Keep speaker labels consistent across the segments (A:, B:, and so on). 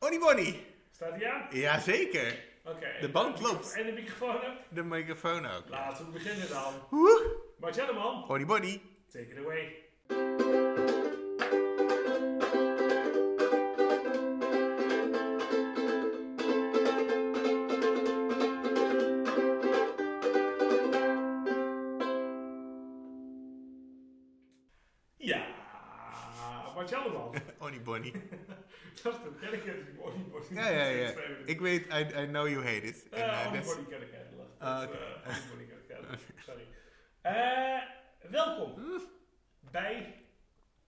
A: Onibonnie.
B: Staat hij aan?
A: Jazeker.
B: Oké.
A: De band loopt.
B: En de microfoon ook?
A: De microfoon ook.
B: Laten we beginnen dan.
A: Woe.
B: Bart Jelleman,
A: Onibonnie.
B: take it away. Ja, Bart Jelleman.
A: Onibonnie.
B: Dat is toch kerkend, mooi.
A: Ja, ja, ja. Ik weet, I, I know you hate it. En, eh,
B: Eh,
A: that's-
B: Antibody kan ik handelen.
A: Ah,
B: Dat,
A: oké.
B: eh, Antibody kan ik handelen. Sorry. Eh, welkom bij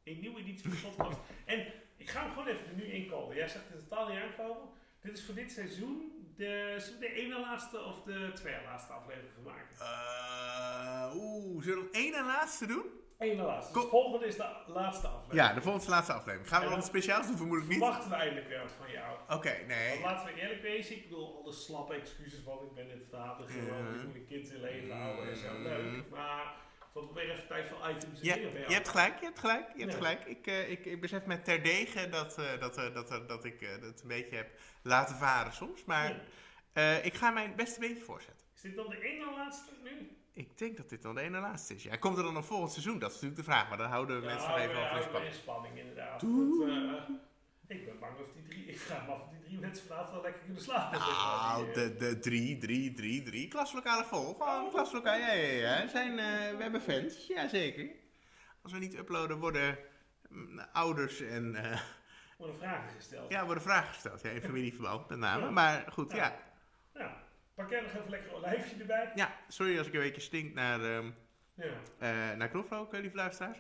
B: een nieuwe editie van de podcast. En ik ga hem gewoon even er nu inkomen. Jij zegt het totaal niet aankomen. Dit is voor dit seizoen de, zullen we de ene laatste of de twee laatste aflevering van maken.
A: Eh, Oeh, zullen we nog één en laatste doen?
B: Eén laatste.
A: Kom.
B: Dus de volgende is de laatste aflevering.
A: Ja, de volgende laatste aflevering. Gaan we
B: Ja.
A: dan speciaals doen, vermoed ik niet? Oké,
B: Wachten we eindelijk weer wat van jou. Want
A: nee.
B: laten we eerlijk wezen, ik bedoel alle slappe excuses van ik ben in theater gewoon, ik moet een kind in leven houden en zo, leuk. Maar wat probeer even tijd van items
A: Ja,
B: en dingen bij
A: je hebt gelijk, je hebt gelijk, je hebt
B: Ja.
A: gelijk. Ik, eh, ik, ik besef me terdege dat, eh, dat, eh, dat, eh, dat ik eh, dat een beetje heb laten varen soms. Maar
B: Ja.
A: eh, ik ga mijn beste beetje voorzetten.
B: Is dit dan de ene na laatste nu?
A: Ik denk dat dit dan de ene laatste is. Ja, komt er dan een volgend seizoen? Dat is natuurlijk de vraag, maar dan houden we mensen nog
B: houden
A: even
B: we-
A: over in
B: houden we
A: spanning.
B: in spanning inderdaad.
A: Doe.
B: Want, eh, ik ben bang of die drie, ik vraag me af of die drie mensen vanavond wel lekker kunnen slapen. zeg maar, die,
A: Nou,
B: eh,
A: de, de drie, drie, drie, drie. Klaslokalen vol.
B: Oh.
A: Gewoon klaslokaal. Ja, ja, ja. Zijn, eh, we hebben fans. Jazeker. Als we niet uploaden, worden mm, ouders en... eh,
B: Worden vragen gesteld.
A: ja, worden vragen gesteld. Ja, in familieverband met name.
B: Ja.
A: Maar goed,
B: Ja.
A: ja.
B: Nou, pak jij nog even lekker een olijfje erbij.
A: Ja, sorry als ik een beetje stink naar, ehm
B: Ja.
A: eh naar knoflook, eh, lieve luisteraars.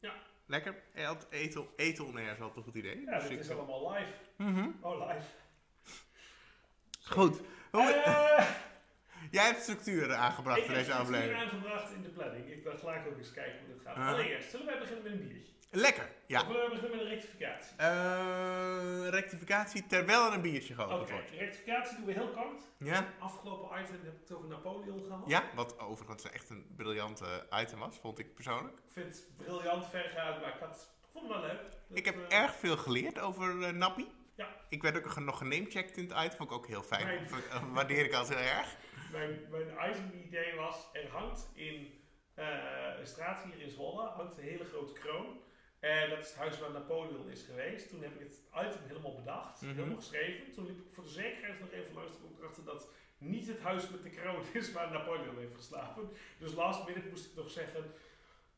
B: Ja.
A: Lekker. Eh, altijd Eten, eten on air is altijd een goed idee.
B: Ja,
A: Dus
B: dit
A: ik-
B: is allemaal live.
A: Mhm.
B: Oh, live.
A: Goed. Hoe-
B: Eh,
A: Jij hebt structuren aangebracht
B: Ik
A: voor
B: heb
A: deze
B: structuur
A: aflevering.
B: aangebracht in de planning. Ik dacht, laat ik ook eens kijken hoe dit gaat.
A: Ah.
B: Allereerst, zullen wij beginnen met een biertje?
A: Lekker, ja.
B: Of willen we beginnen met een rectificatie?
A: Eh, rectificatie terwijl er een biertje
B: Oké,
A: geopend Oh, wordt.
B: rectificatie doen we heel kort.
A: Ja?
B: Afgelopen item heb ik het over Napoleon gehad.
A: ja, wat overigens echt een briljante item was, vond ik persoonlijk.
B: Ik vind het briljant vergaan, maar ik had ik vond het wel leuk. Dat,
A: Ik heb
B: eh,
A: erg veel geleerd over eh Nappie.
B: Ja.
A: Ik werd ook ge- nog genamechecked in het item, vond ik ook heel fijn.
B: Mijn-
A: Vond ik- eh, Waardeer ik altijd heel erg.
B: Mijn, mijn item idee was, er hangt in eh, een straat hier in Zwolle, hangt een hele grote kroon. En dat is het huis waar Napoleon is geweest. Toen heb ik het item helemaal bedacht,
A: Mhm.
B: helemaal geschreven. Toen liep ik voor de zekerheid nog even langs, toen kwam ik erachter dat niet het huis met de kroon is waar Napoleon heeft geslapen. Dus last minute moest ik nog zeggen,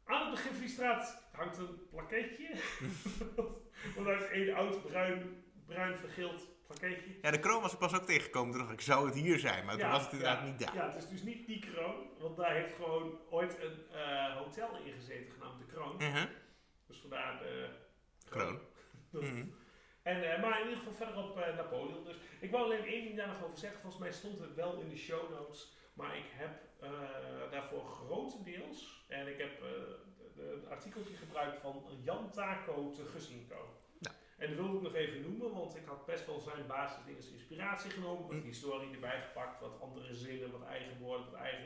B: aan het begin van die straat hangt een pakketje. Want daar is één oud bruin, bruin vergeeld pakketje.
A: Ja, de kroon was ik pas ook tegengekomen. Toen dacht ik, zou het hier zijn? Maar toen
B: Ja,
A: was het inderdaad
B: ja.
A: niet daar.
B: Ja, het is dus niet die kroon, want daar heeft gewoon ooit een eh, hotel in gezeten genaamd de Kroon.
A: Mhm,
B: Dus vandaar de
A: Kroon.
B: Dat-
A: Mhm.
B: En, eh, maar in ieder geval verder op eh, Napoleon. Dus ik wou alleen één ding daar nog over zeggen. Volgens mij stond het wel in de show notes, maar ik heb eh, daarvoor grotendeels en ik heb eh, de- de- een artikeltje gebruikt van Jan Taco te Gusinko.
A: Ja.
B: En dat wilde ik nog even noemen, want ik had best wel zijn basisdingen als inspiratie genomen. Wat
A: Hm.
B: historie erbij gepakt, wat andere zinnen, wat eigen woorden, wat eigen...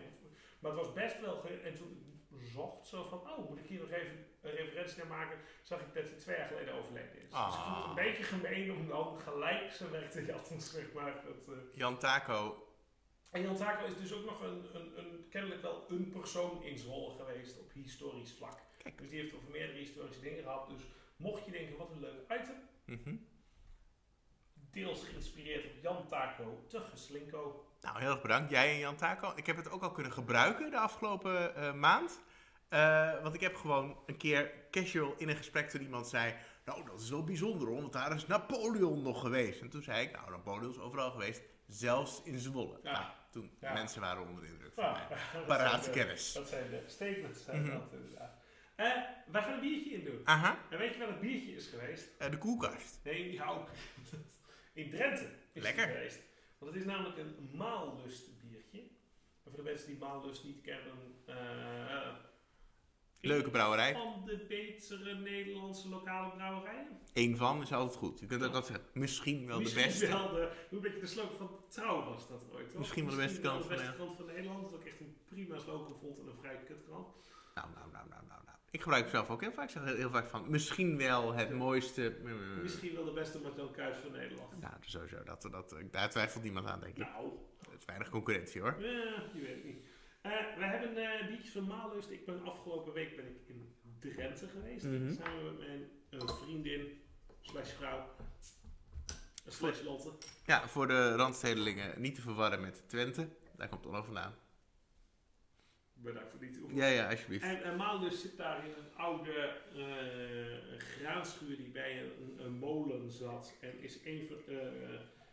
B: Maar het was best wel... ge- En toen ik zocht zo van, oh, moet ik hier nog even een referentie naar maken? Zag ik dat hij twee jaar geleden overleden is. Dus ik vond het
A: Ah.
B: een beetje gemeen om dan gelijk zijn werk te jatten, zeg maar. Dat, eh,
A: Jan Taco.
B: en Jan Taco is dus ook nog een, een, een, kennelijk wel een persoon in Zwolle geweest op historisch vlak.
A: Kijk.
B: Dus die heeft over meerdere historische dingen gehad. Dus mocht je denken, wat een leuk item.
A: Mhm.
B: Deels geïnspireerd op Jan Taco te Geslinko.
A: Nou, heel erg bedankt. Jij en Jan Taco. Ik heb het ook al kunnen gebruiken de afgelopen eh, maand. Eh, want ik heb gewoon een keer casual in een gesprek toen iemand zei... Nou, dat is wel bijzonder hoor, want daar is Napoleon nog geweest. En toen zei ik, nou, Napoleon is overal geweest. Zelfs in Zwolle.
B: Ja.
A: Nou, toen
B: Ja.
A: mensen waren onder de indruk van
B: Ja,
A: mij.
B: Ah, dat zijn
A: Paraat
B: de-
A: kennis.
B: Dat zijn de statements, zijn
A: Mhm.
B: dat inderdaad. Eh, wij gaan een biertje in doen.
A: Aha,
B: En weet je waar het biertje is geweest?
A: eh, de koelkast.
B: Nee, die hou ik. In Drenthe is
A: Lekker.
B: het geweest. Want het is namelijk een maallust biertje. En voor de mensen die maallust niet kennen... eh,
A: Leuke brouwerij.
B: Van de betere Nederlandse lokale brouwerijen.
A: Eén van is altijd goed. Je kunt ook dat zeggen. Misschien wel
B: Misschien
A: de beste.
B: wel de, een beetje de slogan van Trouw was dat ooit. toch?
A: Misschien wel de beste
B: wel
A: krant
B: de
A: van
B: beste krant van Nederland. Dat ik echt een prima slogan vond en een vrij kut krant.
A: Nou, nou, nou, nou, nou, nou. Ik gebruik hem zelf ook heel vaak. Ik zeg heel, heel vaak van, misschien wel het
B: Ja.
A: mooiste...
B: Misschien wel de beste Martel Kuijs van Nederland.
A: Nou, sowieso. Dat, dat, eh, daar twijfelt niemand aan, denk ik.
B: Nou,
A: Er is weinig concurrentie, hoor.
B: ja, je weet het niet. Eh, we hebben eh biertjes van Maalust. Ik ben afgelopen week ben ik in Drenthe geweest.
A: Mhm.
B: Samen met mijn eh, vriendin, slash vrouw, slash Lotte.
A: Ja, voor de randstedelingen niet te verwarren met Twente. Daar komt Onno vandaan.
B: Bedankt voor die toevoeging.
A: Ja, ja, alsjeblieft.
B: En eh, Maalust zit daar in een oude eh, graanschuur die bij een, een molen zat. En is een van, eh,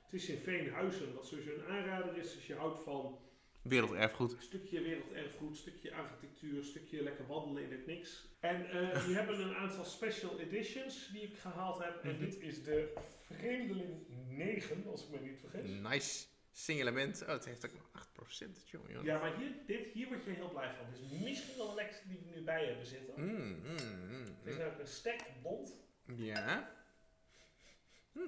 B: het is in Veenhuizen, wat sowieso een aanrader is als je houdt van
A: Werelderfgoed.
B: Een stukje werelderfgoed, stukje architectuur, stukje lekker wandelen in het niks. En eh, die hebben een aantal special editions die ik gehaald heb. En
A: Mhm.
B: dit is de Vreemdeling 9, als ik me niet vergis.
A: Nice singlement. Oh, het heeft ook maar 8% jongen. jongen.
B: Ja, maar hier, dit, hier word je heel blij van. Dit is misschien wel de lekkerste die we nu bij hebben zitten.
A: Mm, mm, mm,
B: Het is namelijk een stek bont.
A: mm. Ja. Hm.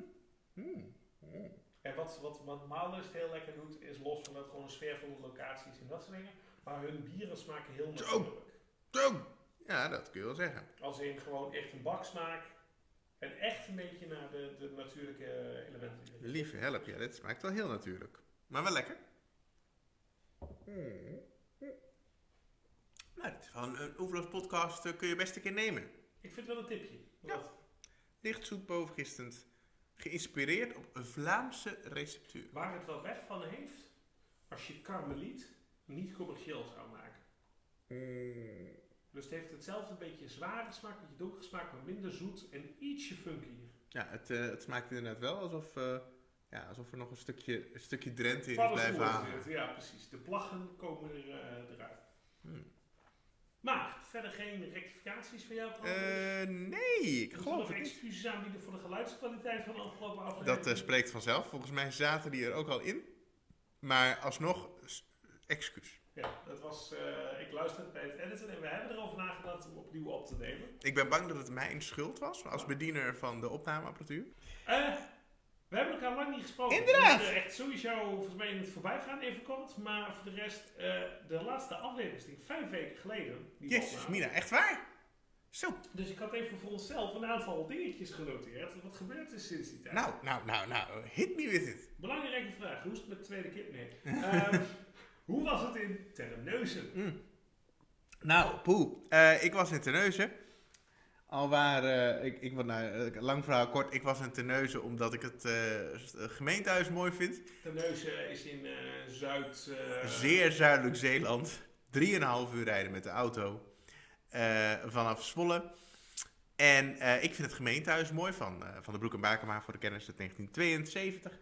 A: Mm, mm.
B: En wat, wat, wat Maalust heel lekker doet, is los van dat gewoon sfeervolle locaties en dat soort dingen. Maar hun bieren smaken heel
A: Zo.
B: natuurlijk.
A: Zo. Ja, dat kun je wel zeggen.
B: Als in gewoon echt een baksmaak. En echt een beetje naar de, de natuurlijke eh, elementen.
A: Lieve help, ja, dit smaakt wel heel natuurlijk. Maar wel lekker. Mm. Nou, dit is wel een, een Oeverloos podcast eh, kun je best een keer nemen.
B: Ik vind het wel een tipje.
A: Ja.
B: Want-
A: Licht zoet bovengistend. Geïnspireerd op een Vlaamse receptuur.
B: Waar het wel weg van heeft, als je karmeliet niet commercieel zou maken.
A: Hmm.
B: Dus het heeft hetzelfde beetje zware smaak, beetje donkere smaak, maar minder zoet en ietsje funkier.
A: Ja, het, eh, het smaakt inderdaad wel alsof, eh, ja, alsof er nog een stukje, een stukje Drenthe in is
B: Paddenstoel
A: blijven
B: is
A: hangen.
B: dit, Ja, precies. De plaggen komen er, eh, eruit.
A: Hmm.
B: Maar verder geen rectificaties van jou?
A: Eh, nee, ik
B: Ik geloof
A: geloof
B: nog
A: het niet.
B: excuses aanbieden voor de geluidskwaliteit van de afgelopen aflevering.
A: Dat eh, spreekt vanzelf. Volgens mij zaten die er ook al in. Maar alsnog, s- excuus.
B: Ja, dat was. eh, ik luisterde bij het editen en we hebben erover nagedacht om opnieuw op te nemen.
A: Ik ben bang dat het mijn schuld was als bediener van de opnameapparatuur.
B: Eh, we hebben elkaar lang niet gesproken.
A: Inderdaad.
B: Dus, eh, echt sowieso volgens mij in het voorbijgaan even kort. Maar voor de rest, eh, de laatste aflevering is denk ik vijf weken geleden. die we
A: Jezus,
B: opnamen.
A: Mina, echt waar? Zo,
B: Dus ik had even voor onszelf een aantal dingetjes genoteerd. Wat gebeurd is sinds die tijd.
A: nou, nou, nou, nou, hit me with it.
B: Belangrijke vraag. Hoe is het met het tweede kind? Nee. Ehm, hoe was het in Terneuzen?
A: Nou, poe. Eh, ik was in Terneuzen. Al waar, eh, ik, ik, wat nou, eh, lang verhaal kort, ik was in Terneuzen omdat ik het eh, s- eh, gemeentehuis mooi vind.
B: Terneuzen is in eh, Zuid... eh,
A: Zeer zuidelijk Zeeland. 3,5 uur rijden met de auto eh, vanaf Zwolle. En eh, ik vind het gemeentehuis mooi van, eh, van de Broek en Bakema voor de kennis uit 1972.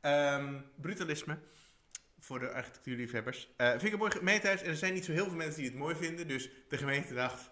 A: Ehm, brutalisme voor de architectuurliefhebbers. Eh vind ik een mooi gemeentehuis en er zijn niet zo heel veel mensen die het mooi vinden. Dus de gemeente dacht,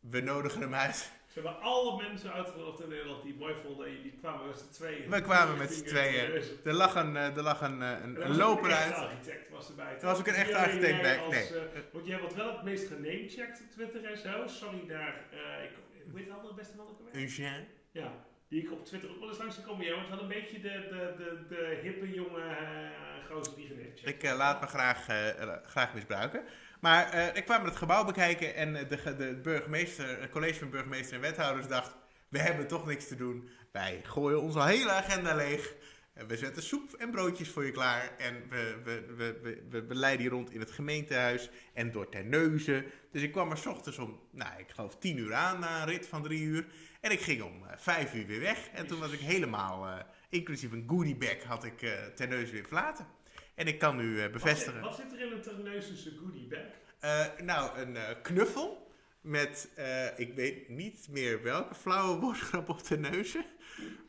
A: we nodigen hem uit.
B: Ze hebben alle mensen uitgenodigd in Nederland die het mooi vonden en die kwamen met z'n tweeën.
A: We kwamen met z'n tweeën.
B: Er
A: Er lag een, eh, er lag een, eh, een,
B: was
A: een loper
B: een echte
A: uit.
B: architect was erbij.
A: Er was ook een
B: Niet
A: echte
B: alleen
A: architect
B: jij
A: bij,
B: als,
A: nee.
B: eh, want jij wordt wel het meest genamecheckt op Twitter en zo. Sorry daar. eh, ik, hoe heet de andere beste man ook alweer?
A: Een Jean.
B: Ja. Die ik op Twitter ook wel eens langs zie komen. Jij wordt wel een beetje de, de, de, de hippe jonge eh, gozer die genamecheckt.
A: Ik eh, laat me graag, eh, eh, graag misbruiken. Maar eh, ik kwam het gebouw bekijken en eh, de, ge- de burgemeester, het college van burgemeester en wethouders dacht... We hebben toch niks te doen. Wij gooien onze hele agenda leeg. En we zetten soep en broodjes voor je klaar. En we, we, we, we, we, we leiden je rond in het gemeentehuis en door Terneuzen. Dus ik kwam er 's ochtends om, nou, ik geloof tien uur aan na een rit van drie uur. En ik ging om eh, vijf uur weer weg. En toen was ik helemaal, eh, inclusief een goodiebag, had ik eh Terneuzen weer verlaten. En ik kan nu eh, bevestigen.
B: Wat zit, wat zit er in een Terneuzense goodie bag?
A: Eh, nou, een eh, knuffel met, eh, ik weet niet meer welke flauwe woordgrap op de neuzen.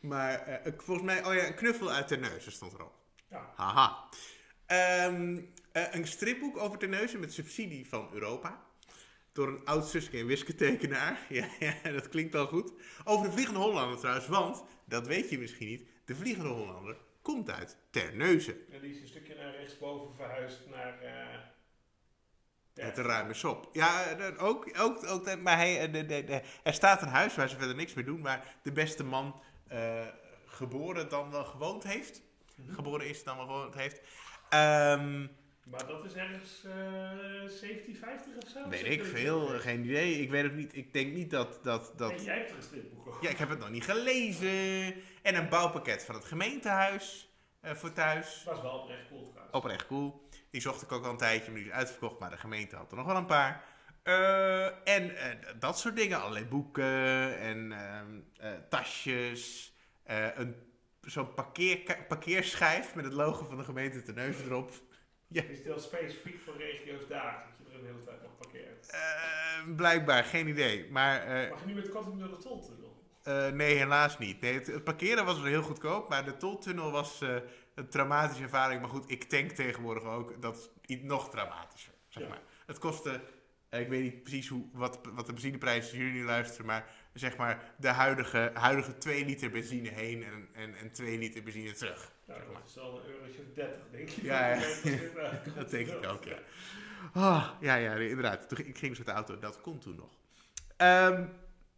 A: Maar eh, ik- volgens mij, oh ja, een knuffel uit de neuzen stond erop.
B: Ja.
A: Haha. Ehm, eh, een stripboek over Terneuzen met subsidie van Europa. Door een oud zusje en wisketekenaar. ja, ja, dat klinkt al goed. Over de Vliegende Hollander trouwens, want, dat weet je misschien niet, de Vliegende Hollander komt uit Terneuzen.
B: En die is een stukje naar rechtsboven verhuisd naar... eh, ja.
A: Het ruime sop. Ja, eh, dat ook, ook, ook dat- maar hij, eh, de, de, de- er staat een huis waar ze verder niks mee doen, waar de beste man eh, geboren dan wel gewoond heeft.
B: Mhm.
A: Geboren is dan wel gewoond heeft. Ehm,
B: Maar dat is ergens eh 1750 of zo?
A: Weet ik veel, eh, geen idee. Ik weet het niet. Ik denk niet dat. dat, dat...
B: En jij hebt er een stripboek over.
A: Ja, ik heb het nog niet gelezen. En een bouwpakket van het gemeentehuis eh, voor thuis.
B: Dat was wel oprecht cool trouwens.
A: Oprecht cool. Die zocht ik ook al een tijdje, maar die is uitverkocht. Maar de gemeente had er nog wel een paar. Eh, en eh, dat soort dingen. Allerlei boeken en ehm, eh, tasjes. Eh, een, zo'n parkeer, parkeerschijf met het logo van de gemeente Terneuzen erop.
B: Het is heel specifiek voor regio's daar, dat je er een hele tijd op parkeert.
A: Eh, blijkbaar, geen idee. Maar eh,
B: Mag je nu met Katting door de Toltunnel?
A: eh, nee, helaas niet. Nee, het, het parkeren was heel goedkoop, maar de toltunnel was eh, een traumatische ervaring. Maar goed, ik tank tegenwoordig ook. Dat is iets nog traumatischer, zeg
B: Ja.
A: maar. Het kostte, eh, ik weet niet precies hoe, wat, wat de benzineprijs is, jullie nu luisteren, maar zeg maar de huidige, huidige 2 liter benzine heen en, en, en 2 liter benzine terug.
B: Nou,
A: zeg maar.
B: dat is wel een eurotje of 30, denk ik.
A: Ja, ja.
B: Dat is, eh,
A: Dat denk ik ook, ja. Ah, ja, ja, inderdaad. Toen, ging- ik ging dus met de auto, dat kon toen nog. Ehm,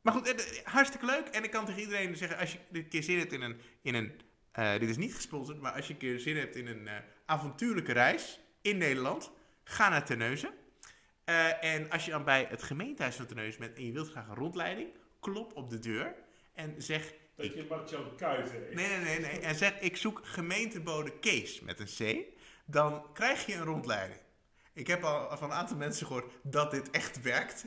A: maar goed, eh, eh, hartstikke leuk. En ik kan tegen iedereen zeggen, als je dit keer zin hebt in een... In een eh, dit is niet gesponsord, maar als je een keer zin hebt in een eh, avontuurlijke reis in Nederland, ga naar Terneuzen. Eh, en als je dan bij het gemeentehuis van Terneuzen bent en je wilt graag een rondleiding, klop op de deur en zeg...
B: Dat je Martjan Kuijten heet.
A: Nee, nee, nee, nee. En zeg, ik zoek gemeentebode Kees met een C. Dan krijg je een rondleiding. Ik heb al van een aantal mensen gehoord dat dit echt werkt.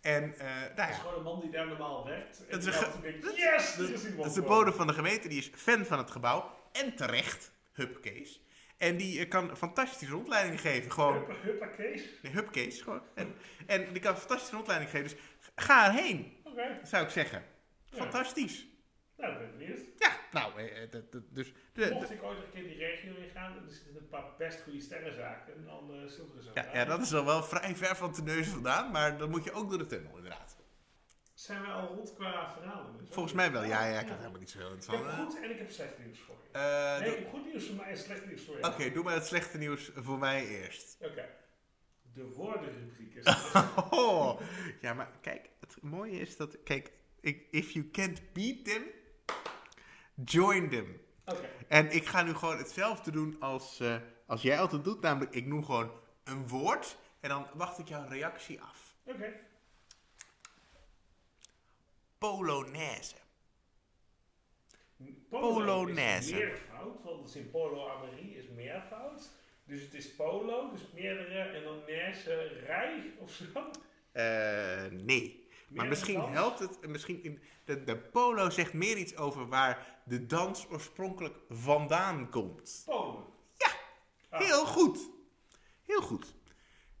A: En eh
B: Dat
A: nou
B: is
A: ja,
B: gewoon een man die daar normaal werkt. En
A: Dat is
B: die
A: een ge-
B: altijd denkt, yes, er is iemand.
A: dat is de
B: voor
A: bode van de gemeente. Die is fan van het gebouw. En terecht, hup Kees. En die eh, kan fantastische rondleidingen geven.
B: me."
A: Gewoon,
B: Huppa, huppa, Kees.
A: nee, hup Kees. Gewoon. En, en die kan fantastische rondleidingen geven. Dus ga erheen,
B: Oké,
A: zou ik zeggen.
B: Ja.
A: Fantastisch.
B: nou, dat ben ik benieuwd.
A: Ja, nou, eh, eh, dat- dat- dus... de- de-
B: Mocht ik ooit nog een keer die regio in gaan, en er zitten een paar best goede sterrenzaken, dan eh zullen we er zo
A: Ja,
B: aan.
A: ja, dat is al wel vrij ver van Terneuzen vandaan, maar dan moet je ook door de tunnel, inderdaad.
B: Zijn we al rond qua verhalen? dus?
A: Volgens mij wel, ja, ja ik had
B: Ik
A: helemaal niet zo heel
B: heb
A: interessant.
B: goed en ik heb slecht nieuws voor je.
A: Eh,
B: nee,
A: doe-
B: ik heb goed nieuws voor mij en slecht nieuws voor je.
A: Oké, doe maar het slechte nieuws voor mij eerst.
B: Oké. De woordenrubriek is.
A: Oh, ja, maar kijk, het mooie is dat, kijk, ik, if you can't beat them, join them.
B: Oké.
A: En ik ga nu gewoon hetzelfde doen als, eh, als jij altijd doet, namelijk ik noem gewoon een woord en dan wacht ik jouw reactie af.
B: Oké.
A: Polonaise.
B: Is
A: Polonaise.
B: meervoud, want het is in Polo Amarie is meervoud. Dus het is polo, dus meerdere en dan naise rij of zo.
A: Eh, nee. Maar
B: Meerdere
A: misschien
B: dans.
A: helpt het. Misschien in, de, de polo zegt meer iets over waar de dans oorspronkelijk vandaan komt.
B: Polo.
A: Ja,
B: Ah,
A: heel goed. Heel goed.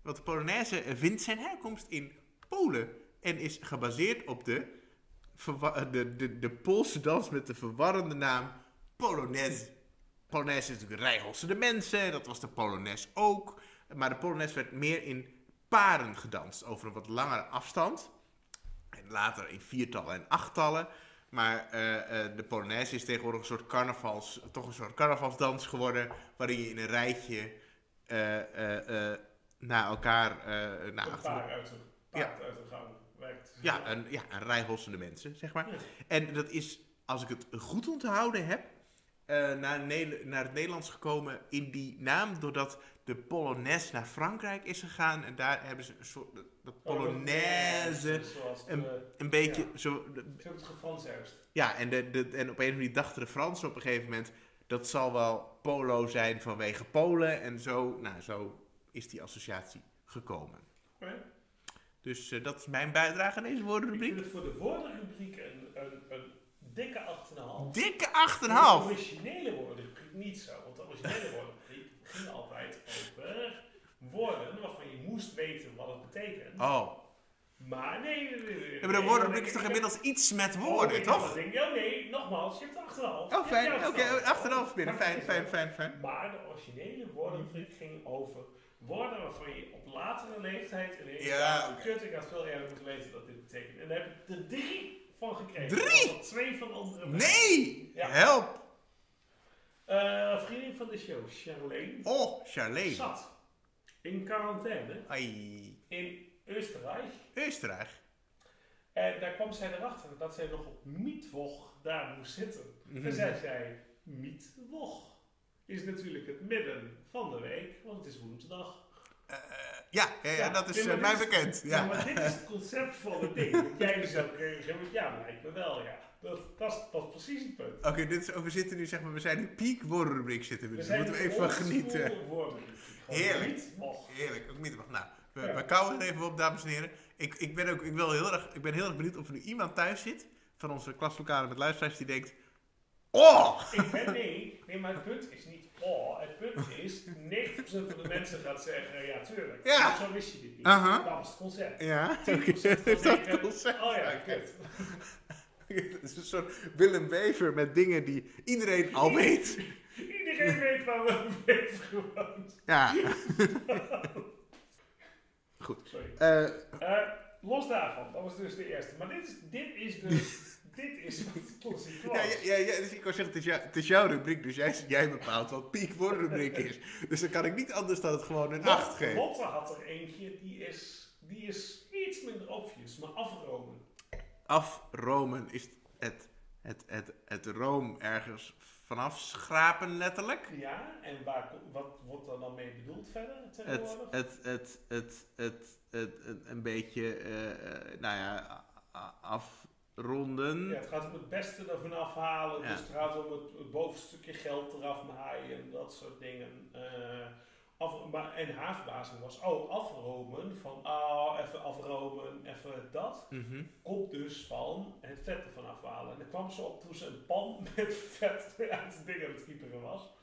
A: Want de Polonaise eh, vindt zijn herkomst in Polen en is gebaseerd op de, verwa- eh, de, de, de Poolse dans met de verwarrende naam Polonaise. Polonaise is natuurlijk rijhossende mensen, dat was de Polonaise ook. Maar de Polonaise werd meer in paren gedanst, over een wat langere afstand. En later in viertallen en achttallen. Maar eh, eh, de Polonaise is tegenwoordig een soort carnavals, toch een soort carnavalsdans geworden. Waarin je in een rijtje eh, eh, eh, na elkaar eh naar
B: Een
A: achteren.
B: paar uit een paard uit een gang werkt.
A: Ja, eh. een, ja, een rij hossende mensen, zeg maar.
B: Ja.
A: En dat is, als ik het goed onthouden heb, eh, naar, Ne- naar het Nederlands gekomen in die naam. Doordat de Polonaise naar Frankrijk is gegaan. En daar hebben ze een soort, dat Polonaise,
B: Zoals
A: een-
B: de-
A: een beetje,
B: Oh, Ja.
A: zo, de-
B: Zo het gefanserst.
A: Ja, en, de, de, en op een of andere dachten de Fransen op een gegeven moment... dat zal wel polo zijn vanwege Polen. En zo, nou, zo is die associatie gekomen.
B: Oké.
A: Dus eh, dat is mijn bijdrage aan deze
B: Ik vind
A: woordenrubriek.
B: het voor de woordenrubriek een, een, een dikke 8,5.
A: Dikke
B: De
A: 8,5!
B: originele woordenrubriek niet zo, want de originele woordenrubriek ging altijd over woorden waarvan je moest weten wat het betekent.
A: Oh,
B: Maar nee, nee, nee, nee.
A: ja, maar de
B: nee,
A: woordenrubriek is
B: nee,
A: toch
B: nee.
A: inmiddels iets met
B: Oh,
A: woorden,
B: ik
A: toch?
B: dacht, ik denk, oh nee, nogmaals, je hebt de 8,5.
A: Oh,
B: Je
A: fijn.
B: hebt
A: Oké,
B: de
A: 8,5 binnen.
B: Maar
A: Fijn,
B: het is
A: fijn,
B: wel-
A: fijn, fijn.
B: Maar de originele woordenrubriek ging over woorden waarvan je op latere leeftijd ineens
A: Ja,
B: dacht,
A: oké.
B: kut, ik had veel eerder moeten weten dat dit betekent. En daar heb ik er drie van gekregen.
A: Drie?
B: Er twee van andere mensen.
A: Nee!
B: Ja.
A: Help!
B: Eh, vriendin van de show, Charlene,
A: Oh, Charlene.
B: zat in quarantaine
A: Ai.
B: in Oostenrijk.
A: Oostenrijk.
B: En daar kwam zij erachter dat zij
A: Mhm.
B: nog op Mietwoch daar moest zitten. En zij zei, Mietwoch. is natuurlijk het midden van de week, want het is woensdag.
A: Ja, ja, ja, dat is
B: nee, maar
A: eh, mij
B: dit
A: bekend.
B: Ja.
A: Ja.
B: maar dit is het concept van het ding. Dat Jij dus zou krijgen met ja, lijkt me wel, ja. Dat, dat, is, dat is precies het punt.
A: Oké, dit is, oh, we zitten nu, zeg maar, we zijn in peak woordenrubriek zitten we nu. Daar moeten we even van
B: old
A: genieten.
B: school woorden. Gewoon
A: Heerlijk.
B: niet. oh, Och.
A: Heerlijk, ook middag. Nou, we,
B: Ja.
A: we kouwen er even op, dames en heren. Ik, ik, ben ook, ik, wil heel erg, ik ben heel erg benieuwd of er nu iemand thuis zit van onze klaslokalen met luisteraars die denkt... Oh!
B: Ik ben nee, nee, maar het punt is niet oh. Het punt is, 90% van de mensen gaat zeggen, ja tuurlijk.
A: Ja.
B: Zo wist je dit niet.
A: Aha.
B: Dat was het concept. 10%
A: Ja,
B: gaat
A: is dat
B: denken,
A: concept?
B: Oh ja,
A: Oké.
B: kut.
A: Het is een soort Willem Wever met dingen die iedereen al weet.
B: Iedereen weet waar we over leven gewoond.
A: Ja,
B: Sorry.
A: eh,
B: Eh, los daarvan, dat was dus de eerste. Maar dit is, dit is dus, dit is wat het concept was.
A: ja, ja, ja, ja, dus ik wou zeggen, het is, jou- het is jouw rubriek, dus jij, jij bepaalt wat peak woordenrubriek is. Dus dan kan ik niet anders dan het gewoon een 8
B: Lotte-
A: geven.
B: Lotte had er eentje, die is, die is iets minder obvious, maar afromen.
A: Afromen is het, het, het, het room ergens vanaf schrapen letterlijk.
B: Ja, en waar, ko- wat wordt daar dan mee bedoeld verder
A: het,
B: tegenwoordig?
A: het, het, het, het, het, het- een beetje, eh, eh, nou ja, a- a- afronden.
B: Ja, het gaat om het beste ervan afhalen,
A: Ja.
B: dus het gaat om het, het bovenstukje geld eraf maaien en dat soort dingen. Eh, af, maar, en haar verbazing was, oh, afromen, van oh, even afromen, even dat.
A: Mhm.
B: Komt dus van het vet ervan afhalen. En daar kwam ze op toen ze een pan met vet uit het ding aan het kieperen was.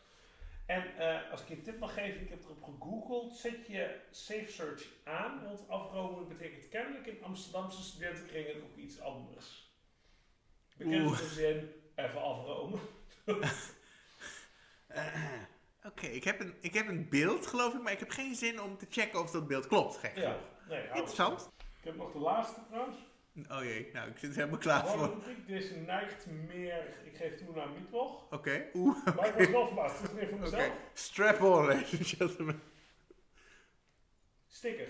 B: En eh, als ik je een tip mag geven, ik heb erop gegoogeld, zet je Safe Search aan, want afromen betekent kennelijk in Amsterdamse studentenkringen ook iets anders. Bekend
A: Oeh.
B: als in even afromen.
A: Eh, Oké, ik heb ik, ik heb een beeld geloof ik, maar ik heb geen zin om te checken of dat beeld klopt, gek
B: Ja,
A: genoeg.
B: nee, hou op.
A: Interessant.
B: Ik heb nog de laatste trouwens.
A: Oh jee, nou ik zit er helemaal klaar voor. Oké,
B: Politiek, dus neigt meer, ik geef toe naar Mietwoch.
A: oeh, oké.
B: Maar ik was wel verbaasd, het is meer voor
A: Oké.
B: mezelf.
A: Strap on, ladies and gentlemen.
B: Sticker.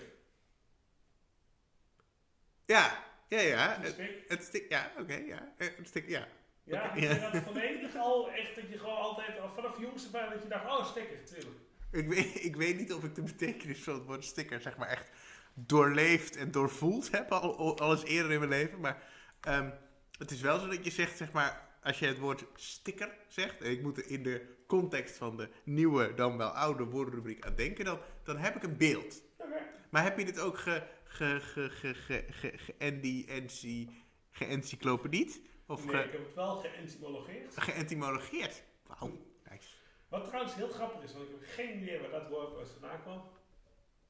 A: Ja, ja, ja.
B: Een
A: Het,
B: stick.
A: het stik, ja, oké, ja. Eh, Het stik, ja.
B: Ja,
A: Oké,
B: had je dat van enig al echt dat je gewoon altijd al vanaf jongste bij dat je dacht, oh sticker, tuurlijk.
A: Ik weet, ik weet niet of ik de betekenis van het woord sticker zeg maar echt doorleefd en doorvoeld heb, al, al- al eens eerder in mijn leven. Maar ehm, het is wel zo dat je zegt, zeg maar, als je het woord sticker zegt, en ik moet er in de context van de nieuwe, dan wel oude woordenrubriek aan denken, dan, dan heb ik een beeld.
B: Oké.
A: Maar heb je dit ook ge, ge, ge, ge, ge, ge, ge, andy- ency- geëncyclopedied? Of
B: nee, ik
A: ge,
B: heb het wel geëntymologeerd.
A: geëntymologeerd? Wauw, nice.
B: Wat trouwens heel grappig is, want ik heb geen idee waar dat woord uit vandaan kwam.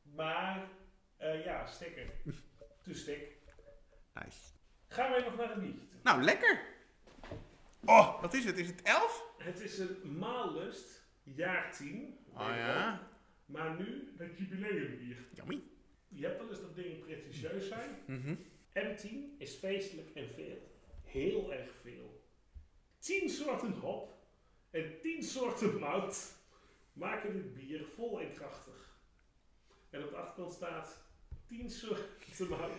B: Maar, eh, ja, sticker. To stick.
A: nice.
B: Gaan wij nog naar een liedje toe.
A: Nou, lekker! Oh, wat is het? Is het elf?
B: Het is een maallust, jaar 10.
A: Ah ja,
B: Maar nu het jubileumbier.
A: yummy.
B: Je hebt wel eens dat dingen pretentieus zijn.
A: Mhm.
B: M10 is feestelijk en veel. Heel erg veel. 10 soorten hop en 10 soorten mout maken dit bier vol en krachtig. En op de achterkant staat 10 soorten mout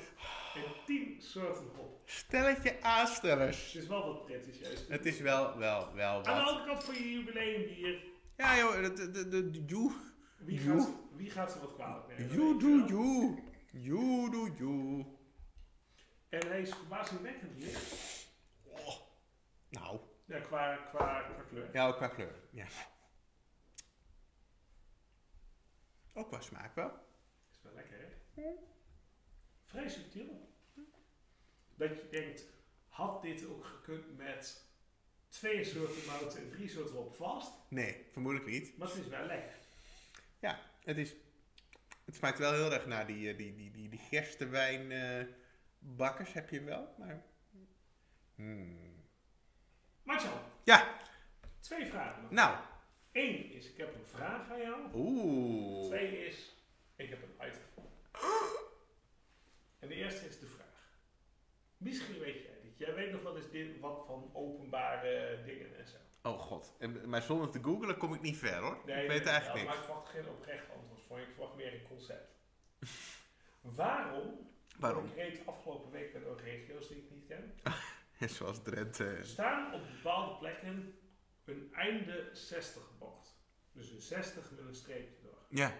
B: en 10 soorten hop.
A: Stelletje
B: Het
A: aanstellers.
B: is wel wat pretentieus.
A: Het is wel, wel, wel
B: Aan de
A: wat.
B: andere kant van je jubileumbier,
A: Ja joh, de, de, de, de- you,
B: wie
A: Joe.
B: gaat, ze- wie gaat ze wat kwalijk nemen?
A: you
B: weet je wel?
A: do you. You do you.
B: En hij is verbazingwekkend licht.
A: Oh. Nou,
B: Ja, qua, qua, qua kleur.
A: ja, ook qua kleur. Ja. Ook qua smaak wel.
B: Is wel lekker, hè? Vrij subtiel. Dat je denkt, had dit ook gekund met twee soorten mout en drie soorten op vast?
A: Nee, vermoedelijk niet.
B: Maar het is wel lekker.
A: Ja, het is... Het smaakt wel heel erg naar die, eh, die, die, die, die gerstewijnbakkers heb je wel, maar... Hmm.
B: Martjan,
A: Ja,
B: twee vragen nog.
A: nou.
B: Eén is, ik heb een vraag aan jou.
A: Oeh.
B: Twee is, ik heb een item. En de eerste is de vraag. Misschien weet jij dit. Jij weet nog wel eens dit, wat van openbare dingen en zo.
A: Oh god, En- maar zonder te googlen kom ik niet ver hoor. ik weet
B: ja,
A: eigenlijk
B: Maar
A: niks.
B: ik verwacht geen oprecht antwoord voor je. Ik verwacht meer een concept. Waarom?
A: Waarom?
B: Ik reed afgelopen week met ook regio's die ik niet ken.
A: Zoals eh, Drenthe.
B: Staan op bepaalde plekken een einde 60 bocht. Dus een 60 met een streepje door.
A: Ja.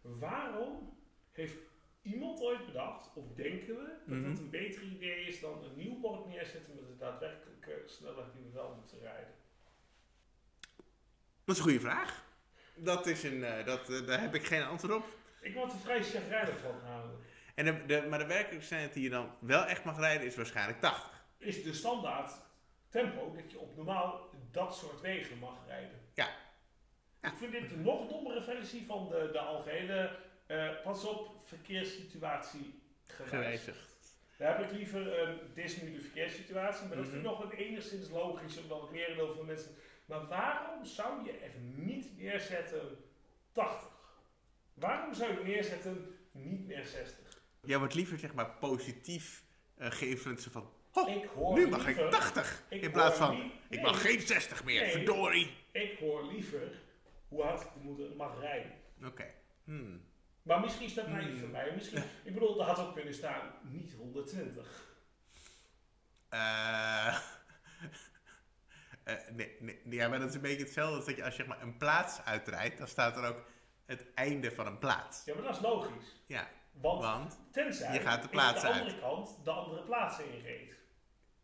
B: Waarom heeft iemand ooit bedacht, of denken we, dat
A: Mhm.
B: het een beter idee is dan een nieuw bord neerzetten met de daadwerkelijke snelheid die we wel moeten rijden?
A: Dat is een goede vraag. Dat is een, eh, dat, eh, daar heb ik geen antwoord op.
B: Ik word er vrij chagrijnig van namelijk.
A: En de, de- maar de werkelijke snelheid die je dan wel echt mag rijden is waarschijnlijk 80.
B: Is de standaard tempo dat je op normaal dat soort wegen mag rijden?
A: Ja. Ja.
B: Ik vind dit een nog dommere versie van de, de algehele eh, pas op verkeerssituatie gewijzigd.
A: Gewijzigd.
B: Daar heb ik liever een dit is nu de verkeerssituatie, maar dat vind ik
A: Mhm.
B: nog wel enigszins logisch, omdat het merendeel van de mensen. Maar waarom zou je er niet neerzetten 80? Waarom zou je neerzetten niet meer 60?
A: Jij wordt liever zeg maar positief eh geïnfluenced van... oh, Ho,
B: Ik hoor
A: nu mag ik
B: liever-
A: 80!
B: ik
A: in plaats
B: hoor
A: van,
B: nie-
A: ik
B: nee,
A: mag geen 60 meer,
B: Nee.
A: verdorie!
B: Ik hoor liever hoe hard de moeder mag rijden.
A: Oké. Hmm.
B: Maar misschien is dat mij
A: Hmm.
B: niet voor mij. Misschien, ik bedoel, daar had ook kunnen staan niet 120.
A: Eh, eh, nee, nee, nee, ja, maar dat is een beetje hetzelfde als dat je als je zeg maar, een plaats uitrijdt, dan staat er ook het einde van een plaats.
B: Ja, maar dat is logisch.
A: Ja,
B: Want
A: want
B: tenzij
A: je gaat de
B: ik
A: plaats
B: de
A: uit.
B: andere kant de andere plaats inreed.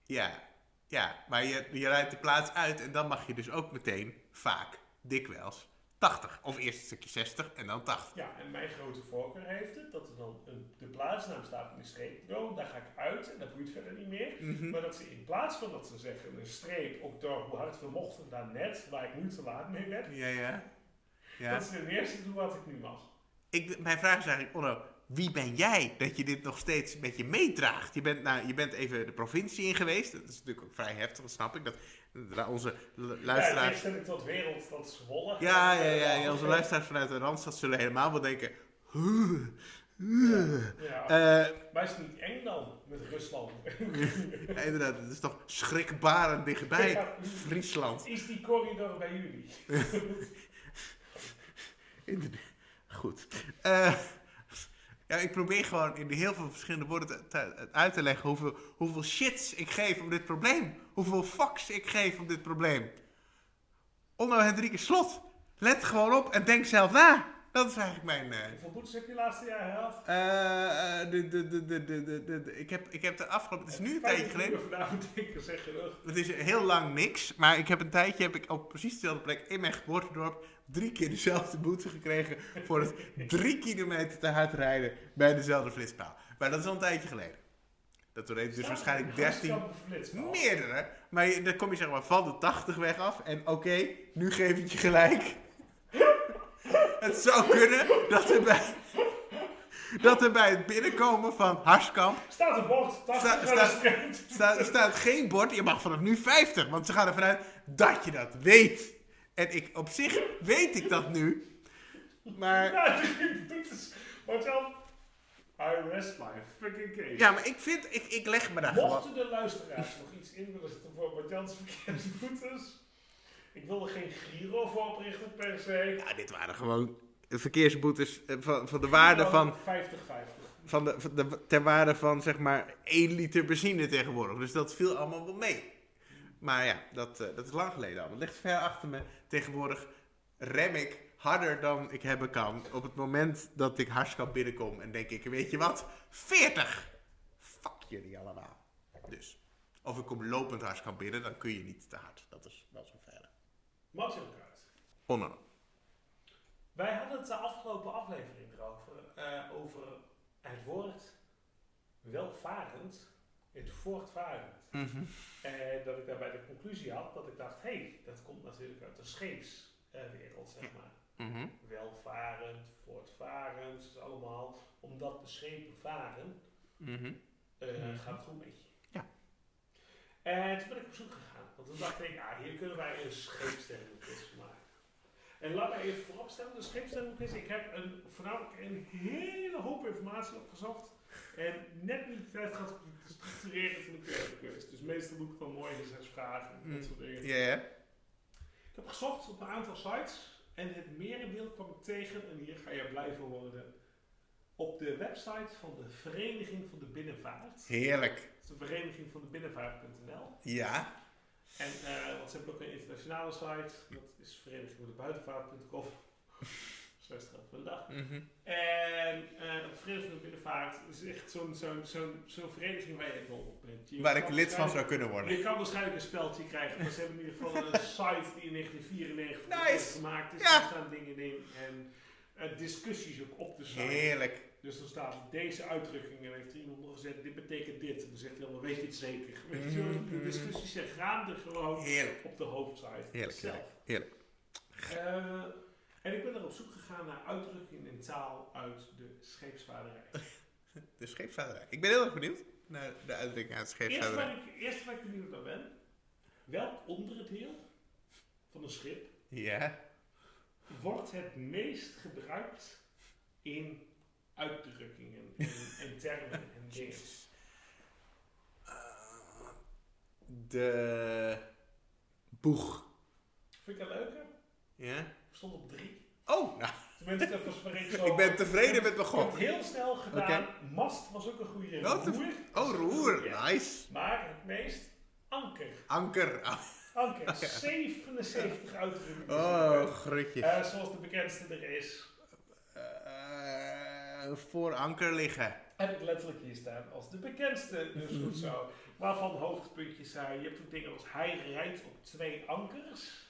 A: ja, ja maar je, je rijdt de plaats uit en dan mag je dus ook meteen vaak, dikwijls, 80. Of eerst een stukje 60 en dan 80.
B: Ja, en mijn grote voorkeur heeft het dat er dan een, de plaatsnaam staat in de streep. Nou, daar ga ik uit en dat boeit verder niet meer.
A: Mhm.
B: Maar dat ze in plaats van dat ze zeggen een streep, ook door hoe hard we mochten daarnet, waar ik nu te laat mee ben,
A: Ja, ja. ja.
B: dat ze ten eerste doen wat ik nu mag.
A: Ik, mijn vraag is eigenlijk, Onno, wie ben jij dat je dit nog steeds met je meedraagt? Je bent, nou, je bent even de provincie in geweest. Dat is natuurlijk ook vrij heftig, dat snap ik. Dat, dat onze lu-
B: Ja, in
A: luisteraars...
B: tegenstelling tot wereld, dat Zwolle.
A: Ja, ja,
B: Eh,
A: ja, ja,
B: dat-
A: Onze luisteraars vanuit de Randstad zullen helemaal wel denken... "Huh, huh."
B: Ja, ja.
A: Eh,
B: maar is het niet eng dan met Rusland?
A: ja, Eh, inderdaad, het is toch schrikbarend dichtbij
B: Ja.
A: Friesland.
B: is die corridor bij jullie?
A: Inderdaad. Goed. Eh, ja, ik probeer gewoon in heel veel verschillende woorden te- te- uit te leggen hoeveel, hoeveel shits ik geef om dit probleem. Hoeveel fucks ik geef om dit probleem. Onno Hendrike Slot, let gewoon op en denk zelf na. Dat is eigenlijk mijn... eh,
B: Hoeveel boetes heb je laatste jaar gehad?
A: eh, eh, de, de, de, de, de, de, de- de- ik, heb, ik heb de afgelopen... Het is nu een tijdje geleden.
B: Vanavond denken zeggen, ugh.
A: Het is heel lang niks, maar ik heb een tijdje heb ik op precies dezelfde plek in mijn geboortedorp drie keer dezelfde boete gekregen voor het drie kilometer te hard rijden bij dezelfde flitspaal. Maar dat is al een tijdje geleden. Dat doorheen dus
B: Staat
A: waarschijnlijk
B: er een
A: 13
B: hartstikke flitspaal?
A: meerdere, maar je- dan kom je zeg maar van de 80 weg af en oké, nu geef ik je gelijk. het zou kunnen dat er bij, dat er bij het binnenkomen van Harskamp
B: Staat een bord, 80
A: Sta-
B: sta,
A: sta-
B: streep.
A: Staat, staat geen bord, je mag vanaf nu 50. Want ze gaan ervan uit dat je dat weet. En ik, op zich weet ik dat nu. Maar,
B: Ja, die boetes. Maar dan, I rest my fucking case.
A: ja, maar ik vind, ik, ik leg me daar gewoon...
B: Mochten de luisteraars nog iets in willen zetten voor Martjans verkeersboetes, ik wil er geen Giro voor oprichten per se.
A: Ja, dit waren gewoon verkeersboetes eh, van, van de waarde van,
B: 50-50.
A: van, de, van de- ter waarde van zeg maar 1 liter benzine tegenwoordig. Dus dat viel allemaal wel mee. Maar ja, dat, eh, dat is lang geleden al. Het ligt ver achter me. Tegenwoordig rem ik harder dan ik hebben kan. Op het moment dat ik hartskap binnenkom en denk ik, weet je wat? 40! Fuck jullie allemaal. Dus. Of ik kom lopend hartskap binnen, dan kun je niet te hard. Dat is wel zo verder.
B: Mario Kart.
A: Onno.
B: Wij hadden het de afgelopen aflevering erover, eh, over het woord welvarend, het voortvarend. En dat ik daarbij de conclusie had dat ik dacht, hé, hey, dat komt natuurlijk uit de scheepswereld, zeg maar.
A: Mhm.
B: Welvarend, voortvarend, dus allemaal. Omdat de schepen varen,
A: Mhm.
B: eh,
A: Mhm.
B: gaat het goed met je.
A: Ja.
B: En toen ben ik op zoek gegaan, want toen dacht ik, ah, hier kunnen wij een scheepsterrenquiz van maken. En laat mij even vooropstellen, de scheepsterrenquiz, ik heb een, voornamelijk een hele hoop informatie opgezocht. En net niet de tijd gehad om te structureren van de quiz. Dus meestal doe ik dan mooi in zes vragen en
A: Mm.
B: dat soort dingen.
A: Ja, ja.
B: Ik heb gezocht op een aantal sites en het merendeel kwam ik tegen, en hier ga je blij van worden, op de website van de Vereniging van de Binnenvaart.
A: Heerlijk.
B: Dat is de Vereniging van de Binnenvaart.nl.
A: Ja.
B: En eh, want ze hebben ook een internationale site. Dat is Vereniging voor de Buitenvaart.com. Slash Geld van de dag.
A: Mhm.
B: En eh op Vereniging voor de Binnenvaart is echt zo'n zo'n zo'n zo'n vereniging waar je dol op bent. Je
A: Waar
B: kan
A: ik lid van
B: waarschijnlijk-
A: zou kunnen worden.
B: Je kan waarschijnlijk een speltje krijgen, maar ze hebben in ieder geval een site die in 1994
A: Nice.
B: gemaakt is.
A: Ja.
B: Daar staan dingen in en eh, discussies ook op de site.
A: Heerlijk.
B: Dus dan staat deze uitdrukking en heeft iemand nog gezegd, dit betekent dit. En dan zegt hij allemaal, weet je het zeker? Weet je, wel, de discussies zijn gaande gewoon
A: Mm-hmm. Heerlijk.
B: op de hoofdsite
A: Heerlijk,
B: zelf.
A: heerlijk,
B: Eh, en ik ben er op zoek gegaan naar uitdrukkingen en taal uit de scheepsvaarderij.
A: De scheepsvaderij. Ik ben heel erg benieuwd naar de uitdrukking uit de
B: Eerst
A: scheepsvaderij.
B: waar, ik, eerst waar ik benieuwd naar ben, welk onderdeel van een schip
A: Ja.
B: wordt het meest gebruikt in uitdrukkingen en, en termen en dingen.
A: Eh, De boeg.
B: Vind ik dat leuker?
A: Ja.
B: Ik stond op drie.
A: Oh, nou,
B: Tenminste, dat was waar ik zo...
A: ik ben tevreden met mijn
B: Ik heb
A: gok.
B: het heel snel gedaan. Mast was ook een goede
A: Wat een-
B: roer.
A: Oh, roer.
B: Ja.
A: Nice.
B: Maar het meest anker.
A: Anker.
B: Anker. 77 uitdrukkingen.
A: Oh, grutje.
B: Eh, zoals de bekendste er is,
A: Eh, voor anker liggen.
B: heb ik letterlijk hier staan als de bekendste. Dus goed zo. Waarvan hoogtepuntjes zijn. Je hebt ook dingen als hij rijdt op twee ankers.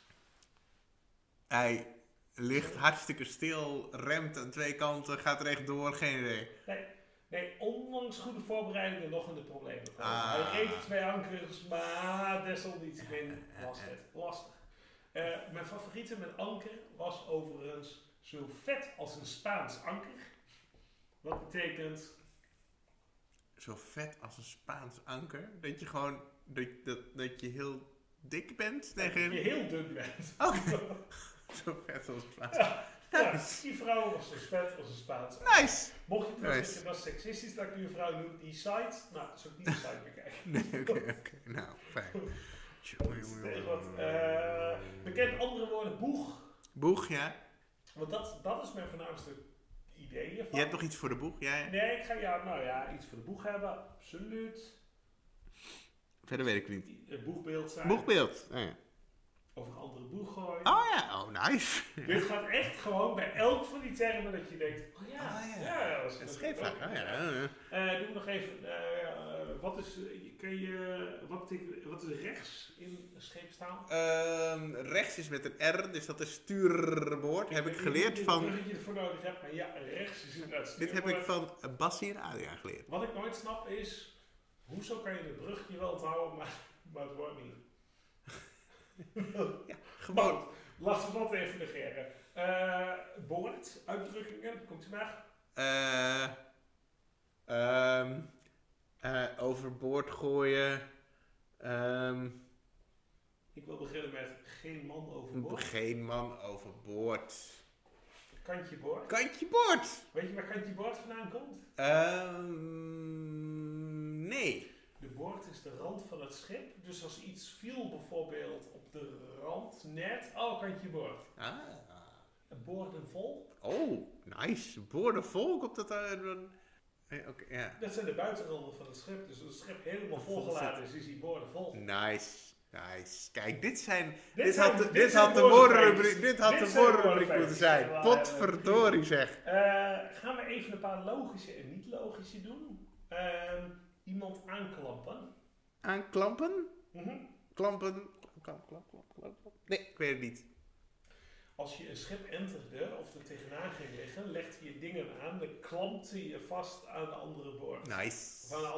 A: Hij ligt hartstikke stil, remt aan twee kanten, gaat rechtdoor, geen idee.
B: Nee, nee, ondanks goede voorbereidingen nog in de problemen. kwamen.
A: Ah.
B: Hij reed twee ankers, maar desalniettemin was het lastig. Eh, mijn favoriete met anker was overigens zo vet als een Spaans anker. Wat betekent,
A: Zo vet als een Spaans anker. Dat je gewoon, dat, dat, dat je heel dik bent
B: dat je
A: tegen...
B: heel dun bent.
A: Zo vet als een Spaans
B: Ja, die vrouw was zo vet als een Spaans anker.
A: Nice!
B: Mocht je trouwens
A: Nice.
B: denken, dat is seksistisch dat ik nu een vrouw noem, die site, nou, dat is ook niet de site bekijken.
A: Nee, oké, oké. Nou, fijn. Jongen, jongen,
B: Tegen wat,
A: jongen.
B: eh, bekend andere woorden, boeg.
A: Boeg, ja?
B: Want dat, dat is mijn voornaamste idee hiervan.
A: Je hebt nog iets voor de boeg? Ja, ja.
B: Nee, ik ga ja, nou ja, iets voor de boeg hebben, absoluut.
A: Verder weet ik het niet.
B: Een boegbeeld zijn.
A: Boegbeeld. Oh ja.
B: Over een andere boeg gooien.
A: Oh, ja. oh nice.
B: Dit gaat echt gewoon bij elk van die termen dat je denkt, oh ja,
A: Ah, ja.
B: ja. dat is
A: Het scheepvaart. Oh ja. oh, ja.
B: Eh, doe nog even, eh, eh, wat is, eh, kan je, wat, betekent, wat is rechts in scheepstaal?
A: Ehm, rechts is met een R, dus dat is stuurboord. Heb ik geleerd
B: Ik weet
A: van.
B: niet of je ervoor nodig hebt, maar ja, rechts is inderdaad
A: Dit heb ik
B: stuurwoord.
A: van Bassi en Adriaan geleerd.
B: Wat ik nooit snap is, hoezo kan je het brugje wel houden, maar, maar het wordt niet. Maar
A: Gewoon.
B: goed, laten we dat even negeren. Eh boord, uitdrukkingen, komt u maar.
A: eh, ehm, eh, overboord gooien. ehm,
B: Ik wil beginnen met geen man overboord.
A: geen man overboord.
B: Kantje boord.
A: Kantje boord!
B: Weet je waar kantje boord vandaan komt?
A: Ehm, nee.
B: De boord is de rand van het schip. Dus als iets viel bijvoorbeeld op de rand, net, oh kantje boord.
A: Ah.
B: Boorden vol,
A: Oh, nice. Boorden vol komt dat uit. Oké, ja.
B: dat zijn de buitenranden van het schip. Dus als het schip helemaal
A: Vol zit.
B: volgeladen is, is die boorden vol.
A: Nice, nice. Kijk, dit zijn. Dit,
B: Dit
A: had,
B: zijn-
A: de- dit
B: dit zijn
A: had de
B: woordenfeitjes.
A: woordenrubriek, dit had
B: Dit
A: de
B: zijn
A: woordenrubriek moeten zijn.
B: woordenfeitjes. Ja,
A: Potverdorie zeg.
B: Eh, gaan we even een paar logische en niet logische doen. Ehm, iemand aanklampen.
A: Aanklampen?
B: Mhm.
A: Klampen? Klamp, klamp, klamp, klamp, klamp. Nee, ik weet het niet.
B: Als je een schip enterde of er tegenaan ging liggen, legde je dingen aan, dan klampte je vast aan de andere boord. Of aan de,
A: Nice.
B: andere,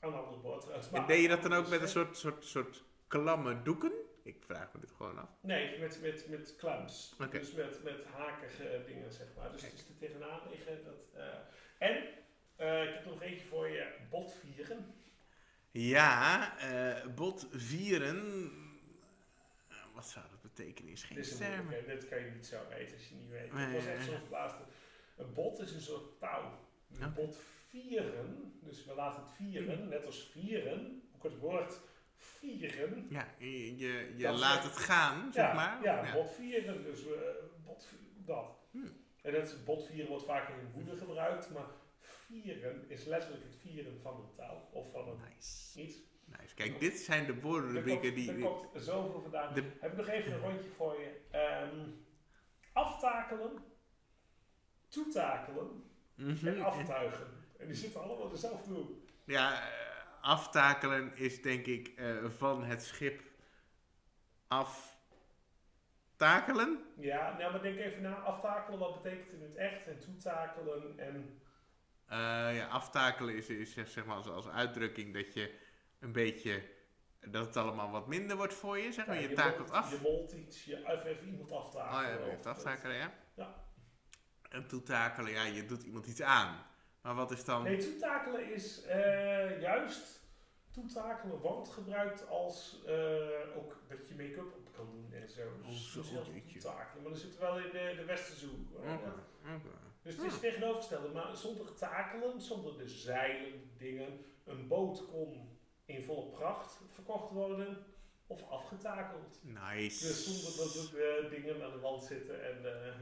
B: aan de andere boord trouwens.
A: Nou. En
B: Maar-
A: deed je dat dan ook met een soort, soort, soort klamme doeken? Ik vraag me dit gewoon af.
B: Nee, met, met, met clamps.
A: Oké.
B: Dus met, met hakige dingen, zeg maar. Dus
A: Kijk.
B: het is er tegenaan liggen. Dat, eh, En, eh, ik heb nog eentje voor je, botvieren.
A: Ja, eh, bot vieren. Eh, Wat zou dat betekenen? Is geen
B: Dit, is een
A: termen.
B: moeilijke, dit kan je niet zo weten als je niet weet.
A: Nee,
B: ik was
A: ja,
B: echt
A: ja.
B: zo verbaasd. Een bot is een soort touw. Een
A: Oké.
B: bot vieren, dus we laten het vieren, net als vieren, ook het woord vieren
A: Ja, je, je, je
B: Dat is
A: laat
B: echt-
A: het gaan, zeg maar.
B: Ja,
A: Ja.
B: botvieren, dus eh botvieren, dat.
A: Hmm.
B: En dat is, botvieren wordt vaak in woede gebruikt, maar vieren is letterlijk het vieren van een touw of van een
A: Nice.
B: iets.
A: Nice. Kijk, dit zijn de woordenrubrieken die...
B: Er
A: die-
B: komt zoveel vandaan.
A: de-
B: Heb ik nog even een rondje voor je. Ehm, aftakelen, toetakelen en
A: Mhm.
B: aftuigen. En die zitten allemaal in dezelfde hoek.
A: Ja, eh, aftakelen is denk ik eh, van het schip aftakelen.
B: Ja, nou maar denk even na. Aftakelen, wat betekent het in het echt? En toetakelen en...
A: Eh, ja, aftakelen is, is zeg zeg maar als, als uitdrukking dat je een beetje... dat het allemaal wat minder wordt voor je, zeg maar.
B: ja,
A: je
B: je
A: takelt
B: molt-
A: af.
B: Je molt iets, je even, even iemand
A: Oh
B: aftakelen.
A: ja,
B: Of
A: blijft
B: dat-
A: aftakelen, ja.
B: Ja.
A: En toetakelen, ja, je doet iemand iets aan. Maar wat is dan...
B: Nee, toetakelen is eh, juist toetakelen, wordt gebruikt als eh, ook dat je make-up op kan doen en zo.
A: Oh,
B: Dus
A: zo,
B: dat is heel veel
A: jeetje.
B: toetakelen, maar dat zit wel in de, de westerse hoek.
A: Oké, oké.
B: Dus het is tegenovergestelde, maar zonder takelen, zonder de zeilen, dingen, een boot kon in volle pracht verkocht worden of afgetakeld.
A: Nice.
B: Dus zonder dat er eh, dingen aan de wand zitten en... eh,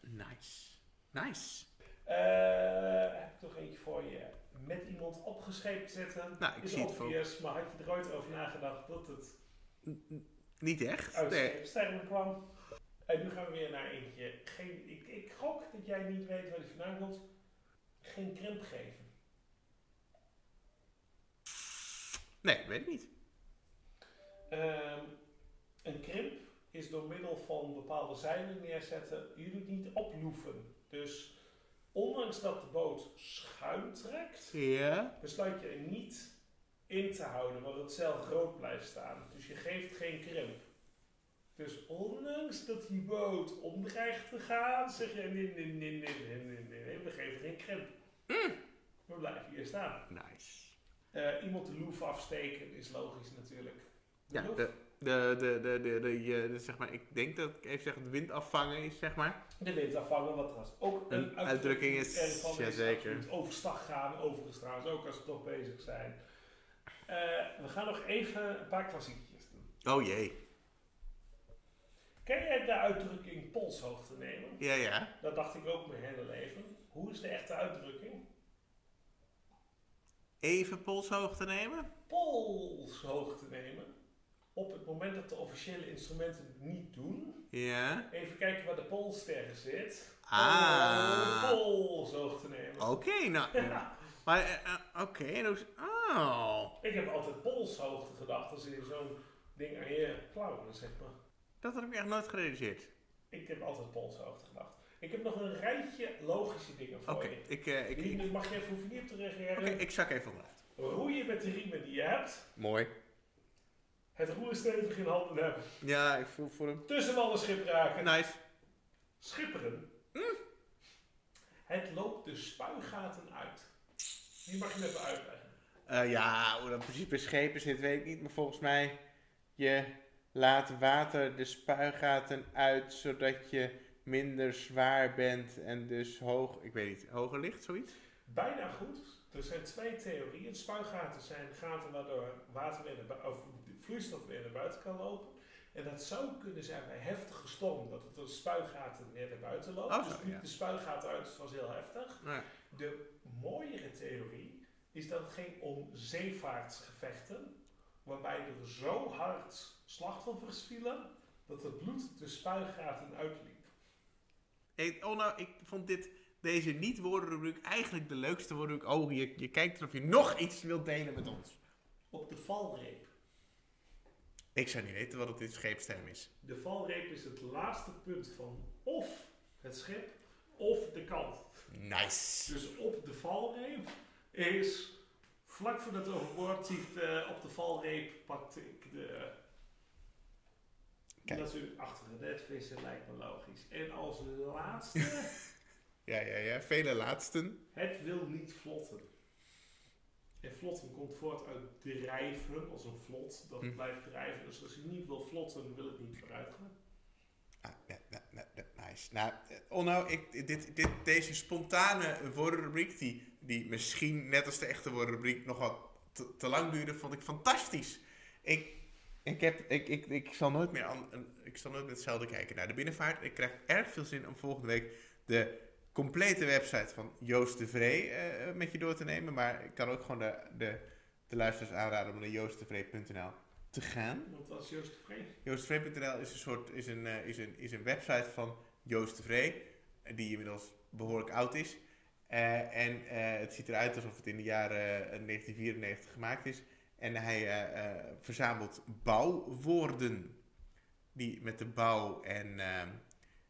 A: Nice. Nice.
B: Eh, heb ik nog eentje voor je. Met iemand opgescheept zetten.
A: Nou, ik
B: is
A: zie het
B: obvious, maar had je er ooit over nagedacht dat het
A: N- n- Niet echt.
B: uit
A: Nee.
B: scheepstermen kwam? En nu gaan we weer naar eentje. Geen, ik, ik gok dat jij niet weet waar die vandaan komt. Geen krimp geven.
A: nee, weet ik niet.
B: Ehm, een krimp is door middel van bepaalde zeilen neerzetten. Je doet niet oploeven. Dus ondanks dat de boot schuin trekt,
A: Ja.
B: besluit je er niet in te houden, maar het zeil groot blijft staan. Dus je geeft geen krimp. Dus ondanks dat die boot om dreigt te gaan, zeg je nee, nee, nee, nee, nee, nee, nee, nee, we geven geen krimp. We blijven hier staan.
A: Nice.
B: Eh, iemand de loef afsteken is logisch natuurlijk. De
A: Ja,
B: loef?
A: de, de, de, de, de, de, je- de- zeg maar, ik denk dat ik even zeg, het wind afvangen is, zeg maar.
B: De wind afvangen, wat trouwens ook
A: Een
B: een,
A: uitdrukking is,
B: ervan
A: ja, zeker.
B: absoluut. Overstag gaan, overigens trouwens, ook als we toch bezig zijn. Eh, we gaan nog even een paar klassiekjes doen.
A: Oh jee.
B: Ken jij de uitdrukking polshoogte nemen?
A: Ja, ja.
B: Dat dacht ik ook mijn hele leven. Hoe is de echte uitdrukking?
A: Even polshoogte nemen.
B: Polshoogte nemen. Op het moment dat de officiële instrumenten het niet doen,
A: Ja.
B: even kijken waar de polster zit.
A: Ah.
B: Om Polshoogte nemen.
A: Oké, nou.
B: Ja.
A: Maar, eh, eh, oké, dus. Oh.
B: Ik heb altijd polshoogte gedacht als je zo'n ding aan je klauwen, zeg maar.
A: Dat had ik echt nooit gerealiseerd.
B: Ik heb altijd polshoogte gedacht. Ik heb nog een rijtje logische dingen
A: Oké,
B: voor je.
A: ik, eh, ik, ik,
B: Hier mag je even hoef je niet op te reageren.
A: oké, ik zak even onderuit.
B: Roeien met de riemen die je hebt.
A: Mooi.
B: Het roer stevig in handen hebben.
A: Ja, ik voel voor hem.
B: Tussen alle schip raken.
A: Nice.
B: Schipperen.
A: Hm?
B: Het loopt de spuigaten uit. Die mag je even uitleggen.
A: Eh, ja, hoe dat precies beschepen zit, weet ik niet. Maar volgens mij, je laat water de spuigaten uit, zodat je minder zwaar bent en dus hoog, ik weet niet, hoger ligt, zoiets?
B: Bijna goed. Er zijn twee theorieën. Spuigaten zijn gaten waardoor water weer naar bui- of vloeistof weer naar buiten kan lopen. En dat zou kunnen zijn bij heftige storm, dat het door de spuigaten weer naar buiten loopt.
A: Oh,
B: dus
A: zo,
B: niet
A: ja.
B: de spuigaten uit, het was heel heftig.
A: Nou ja.
B: De mooiere theorie is dat het ging om zeevaartsgevechten, waarbij er zo hard slachtoffers vielen dat het bloed de spuigaten uitliep.
A: Ik, oh nou, ik vond dit, deze niet-woordenrubriek eigenlijk de leukste woordenrubriek. Oh, je, je kijkt of je nog iets wilt delen met ons.
B: Op de valreep.
A: Ik zou niet weten wat het in scheepsterm is.
B: De valreep is het laatste punt van of het schip of de kant.
A: Nice.
B: Dus op de valreep is vlak voordat het overboord ziet, eh, op de valreep pakte ik de.
A: Kijk.
B: Natuurlijk achter de netvissen lijkt me logisch. En als laatste,
A: Ja, ja, ja. Vele laatsten.
B: het wil niet vlotten. En vlotten komt voort uit drijven, als een vlot, dat
A: Hm.
B: blijft drijven. Dus als je niet wil vlotten, wil het niet vooruit gaan.
A: Ah, ja, ja, ja, ja, nice. Nou, eh, Onno, ik, dit, dit, deze spontane woordenrubriek, die, die misschien net als de echte woordenrubriek nog wat te, te lang duurde, vond ik fantastisch. Ik, ik, heb, ik, ik, ik, zal nooit meer aan, een- ik zal nooit meer hetzelfde kijken naar de binnenvaart. Ik krijg erg veel zin om volgende week de complete website van Joost de Vree eh, eh, met je door te nemen. Maar ik kan ook gewoon de, de de luisteraars aanraden om naar joosttevree.nl te gaan.
B: Want dat is juist tevreden.
A: Joosttevree.nl is een soort is een, eh, is een, is een website van Joost de Vree, eh, die inmiddels behoorlijk oud is. Eh, en eh, het ziet eruit alsof het in de jaren eh, 1994 gemaakt is. En hij eh, eh, verzamelt bouwwoorden die met de bouw en eh,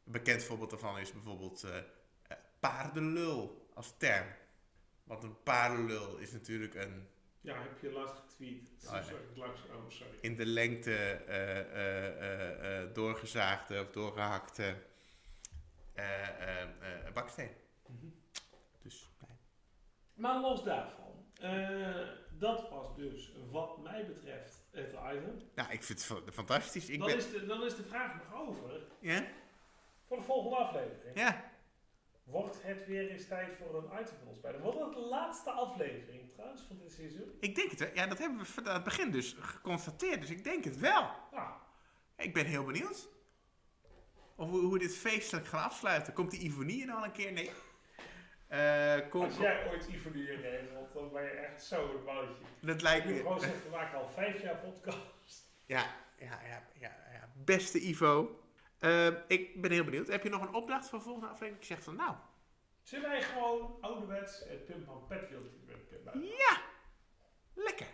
A: een bekend voorbeeld daarvan is bijvoorbeeld eh, eh, paardenlul als term. Want een paardenlul is natuurlijk een
B: Ja, heb je laatst getweet.
A: Oh, ja.
B: Sorry, ik luister- oh, sorry.
A: in de lengte eh, eh, eh, eh, doorgezaagde of doorgehakte eh, eh, eh, baksteen.
B: Mhm.
A: Dus, nee.
B: Maar los daarvan, eh, dat was dus wat mij betreft het item.
A: Nou, ik vind het fa- fantastisch. Ik
B: Dan,
A: ben,
B: is de, dan is de vraag nog over
A: ja?
B: voor de volgende aflevering.
A: ja,
B: Wordt het weer eens tijd voor een item van ons beiden? Wordt dat de laatste aflevering trouwens van dit seizoen?
A: ik denk het. hè. Ja, dat hebben we v- aan het begin dus geconstateerd. Dus ik denk het wel.
B: Nou,
A: Ik ben heel benieuwd. Of hoe, hoe we dit feestelijk gaan afsluiten. Komt die Ivonie nou al een keer? Nee. Eh, kom,
B: als jij ooit Ivonie regelt, dan ben je echt zo een boutje.
A: dat
B: Ik
A: lijkt
B: moet gewoon
A: me...
B: zeggen, we maken al vijf jaar podcast.
A: Ja, ja, ja, ja, ja. Beste Ivo. Eh, ik ben heel benieuwd. Heb je nog een opdracht voor de volgende aflevering? Ik zeg van nou.
B: Zullen wij gewoon ouderwets het Pim van Petwieltje erin kunnen
A: Ja! Lekker.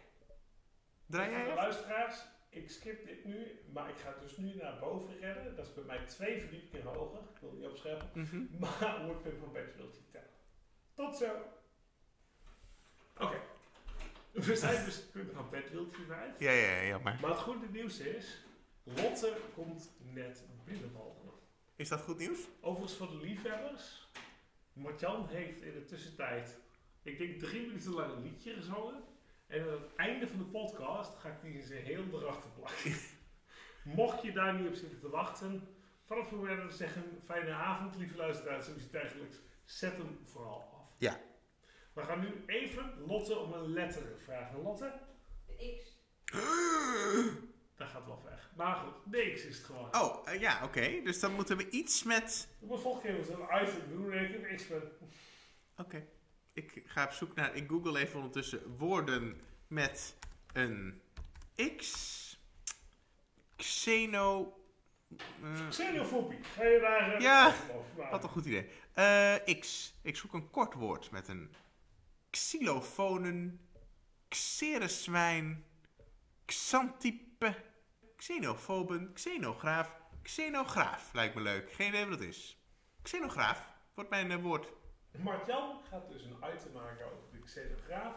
A: Draai jij
B: Voor de
A: even?
B: Luisteraars, ik skip dit nu, maar ik ga het dus nu naar boven redden. Dat is bij mij twee verdiepingen hoger. Ik wil niet opscheppen.
A: Mhm.
B: Maar hoe het Pim van Petwieltje tellen. Tot zo. Oké. We zijn dus het Pim van Petwieltje kwijt.
A: Ja, ja, ja, maar.
B: Maar het goede nieuws is, Lotte komt net binnenvallen.
A: Is dat goed nieuws?
B: Overigens voor de liefhebbers, Martjan heeft in de tussentijd, ik denk drie minuten lang een liedje gezongen. En aan het einde van de podcast ga ik die in zijn heel erachter plakken. Mocht je daar niet op zitten te wachten, vanaf het moment dat we zeggen fijne avond, lieve luisteraars, zoiets dergelijks, zet hem vooral af.
A: Ja.
B: We gaan nu even Lotte om een letter vragen. Lotte,
C: De X.
B: dat gaat wel weg. Maar goed, de X is het gewoon.
A: Oh, eh, ja, oké. Dus dan moeten we iets met.
B: De volgende keer moeten we een item doen en ik heb X met
A: Oké. Ik ga op zoek naar. Ik google even ondertussen woorden met een X. Xeno. eh,
B: Xenofobie. Ga je daar... eh,
A: Ja,
B: over maken?
A: Wat een goed idee. Eh, X. Ik zoek een kort woord met een xylofonen, xerezwijn, xantype, xenofoben, xenograaf, xenograaf. Lijkt me leuk. Geen idee wat dat is. Xenograaf wordt mijn eh, woord.
B: Martjan gaat dus een item maken over de xenograaf.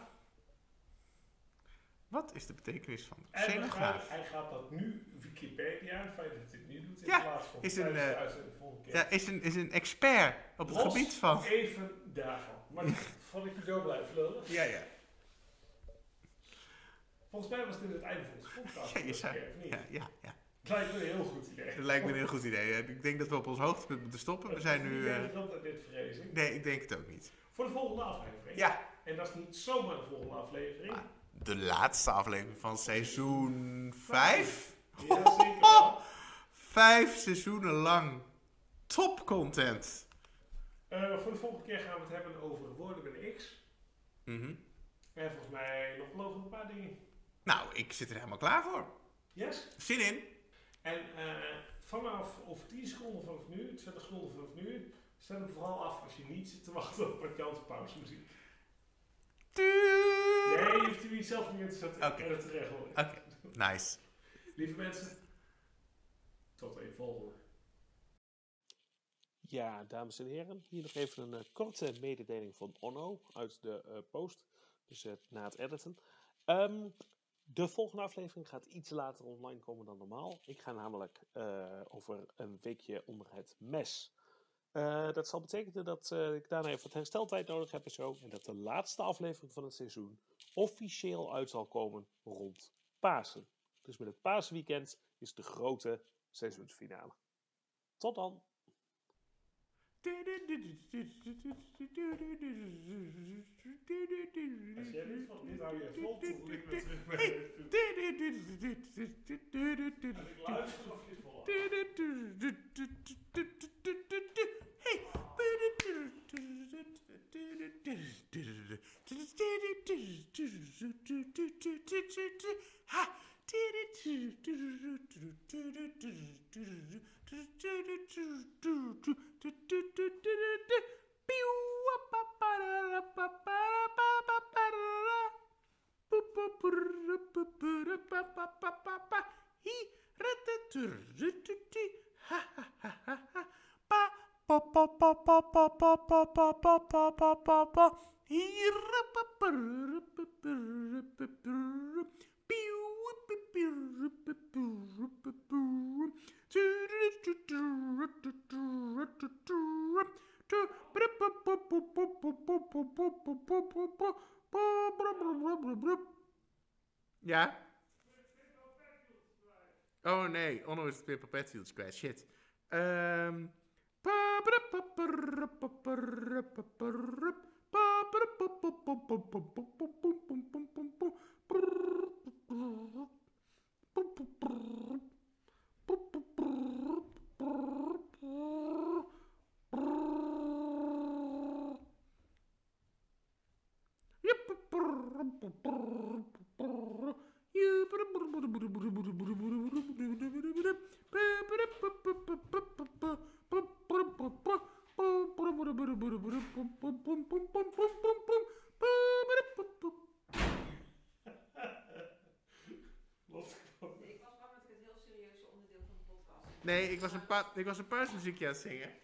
A: Wat is de betekenis van
B: En we gaan,
A: xenograaf?
B: hij gaat dat nu Wikipedia, het feit dat hij het nu doet, in
A: Ja,
B: plaats van
A: is een,
B: tijdens de
A: eh,
B: uitzending volgende keer.
A: Ja, is een, is een expert op het
B: Los
A: gebied van...
B: Even daarvan. Maar dat vond ik je zo blijven lullen.
A: Ja, ja.
B: Volgens mij was dit het einde van onze podcast.
A: Ja, je
B: vorige
A: zei-
B: keer, of niet?
A: Ja, ja, ja.
B: Het lijkt me een heel goed idee.
A: Dat lijkt me een heel goed idee. Eh, Ik denk dat we op ons hoogtepunt moeten stoppen. We zijn nu...
B: Ik
A: eh,
B: denk dat dit vrezen.
A: Nee, ik denk het ook niet.
B: Voor de volgende aflevering.
A: Ja.
B: En dat is niet zomaar de volgende aflevering.
A: Ah. De laatste aflevering van seizoen 5.
B: Ja, zeker wel.
A: Vijf seizoenen lang top content.
B: Eh, voor de volgende keer gaan we het hebben over woorden met een X. En volgens mij nog geloof ik een paar dingen.
A: Nou, ik zit er helemaal klaar voor.
B: Yes.
A: Zin in?
B: En eh, vanaf over 10 seconden vanaf nu, 20 seconden vanaf nu, zet hem vooral af als je niet zit te wachten op Martjans pauzemuziek. Nee,
A: Tuurlijk.
B: je hoeft hem niet zelf niet in te zetten
A: Oké.
B: en het te regelen.
A: Oké, nice.
B: Lieve mensen, tot een volgende.
D: Ja, dames en heren, hier nog even een eh, korte mededeling van Onno uit de eh, post. Dus eh, na het editen. Ehm, de volgende aflevering gaat iets later online komen dan normaal. Ik ga namelijk eh, over een weekje onder het mes. Eh, dat zal betekenen dat eh, ik daarna even wat hersteltijd nodig heb en zo. En dat de laatste aflevering van het seizoen officieel uit zal komen rond Pasen. Dus met het Pasenweekend is de grote seizoensfinale. Tot dan!
B: Als jij dit van dit hou je vol tot ik weer terug ben. En ik luister of je het volgt.
A: Hey! pa, pa, pa, pa. Hi, ratatu, rututu. Ha, ha, ha, ha, ha. Pa, pa, pa, pa, pa, pa, pa, pa, pa, pa, pa, pa, pa, pa. Hi, ra, pa, pa, ru, pa, pa, ru, pa, pa, ru. Piu, pa, pa, ru, pa, pa, ru, pa, pa, ru. Tu, ru, tu, tu, ru, tu, tu, ru, tu, tu, ru. Tu, bru, pu, pu, pu, pu, pu, pu, pu, pu, pu, pu, pu, pu. Pa, bru, bru, bru, bru, bru. Ja? Oh nee, Onno is weer perpetuals kwijt. Shit. Ehm.
B: Wat
C: Ik was namelijk het heel serieuze onderdeel van de podcast.
A: Nee, ik was een, pa ik was een paasmuziekje aan het zingen.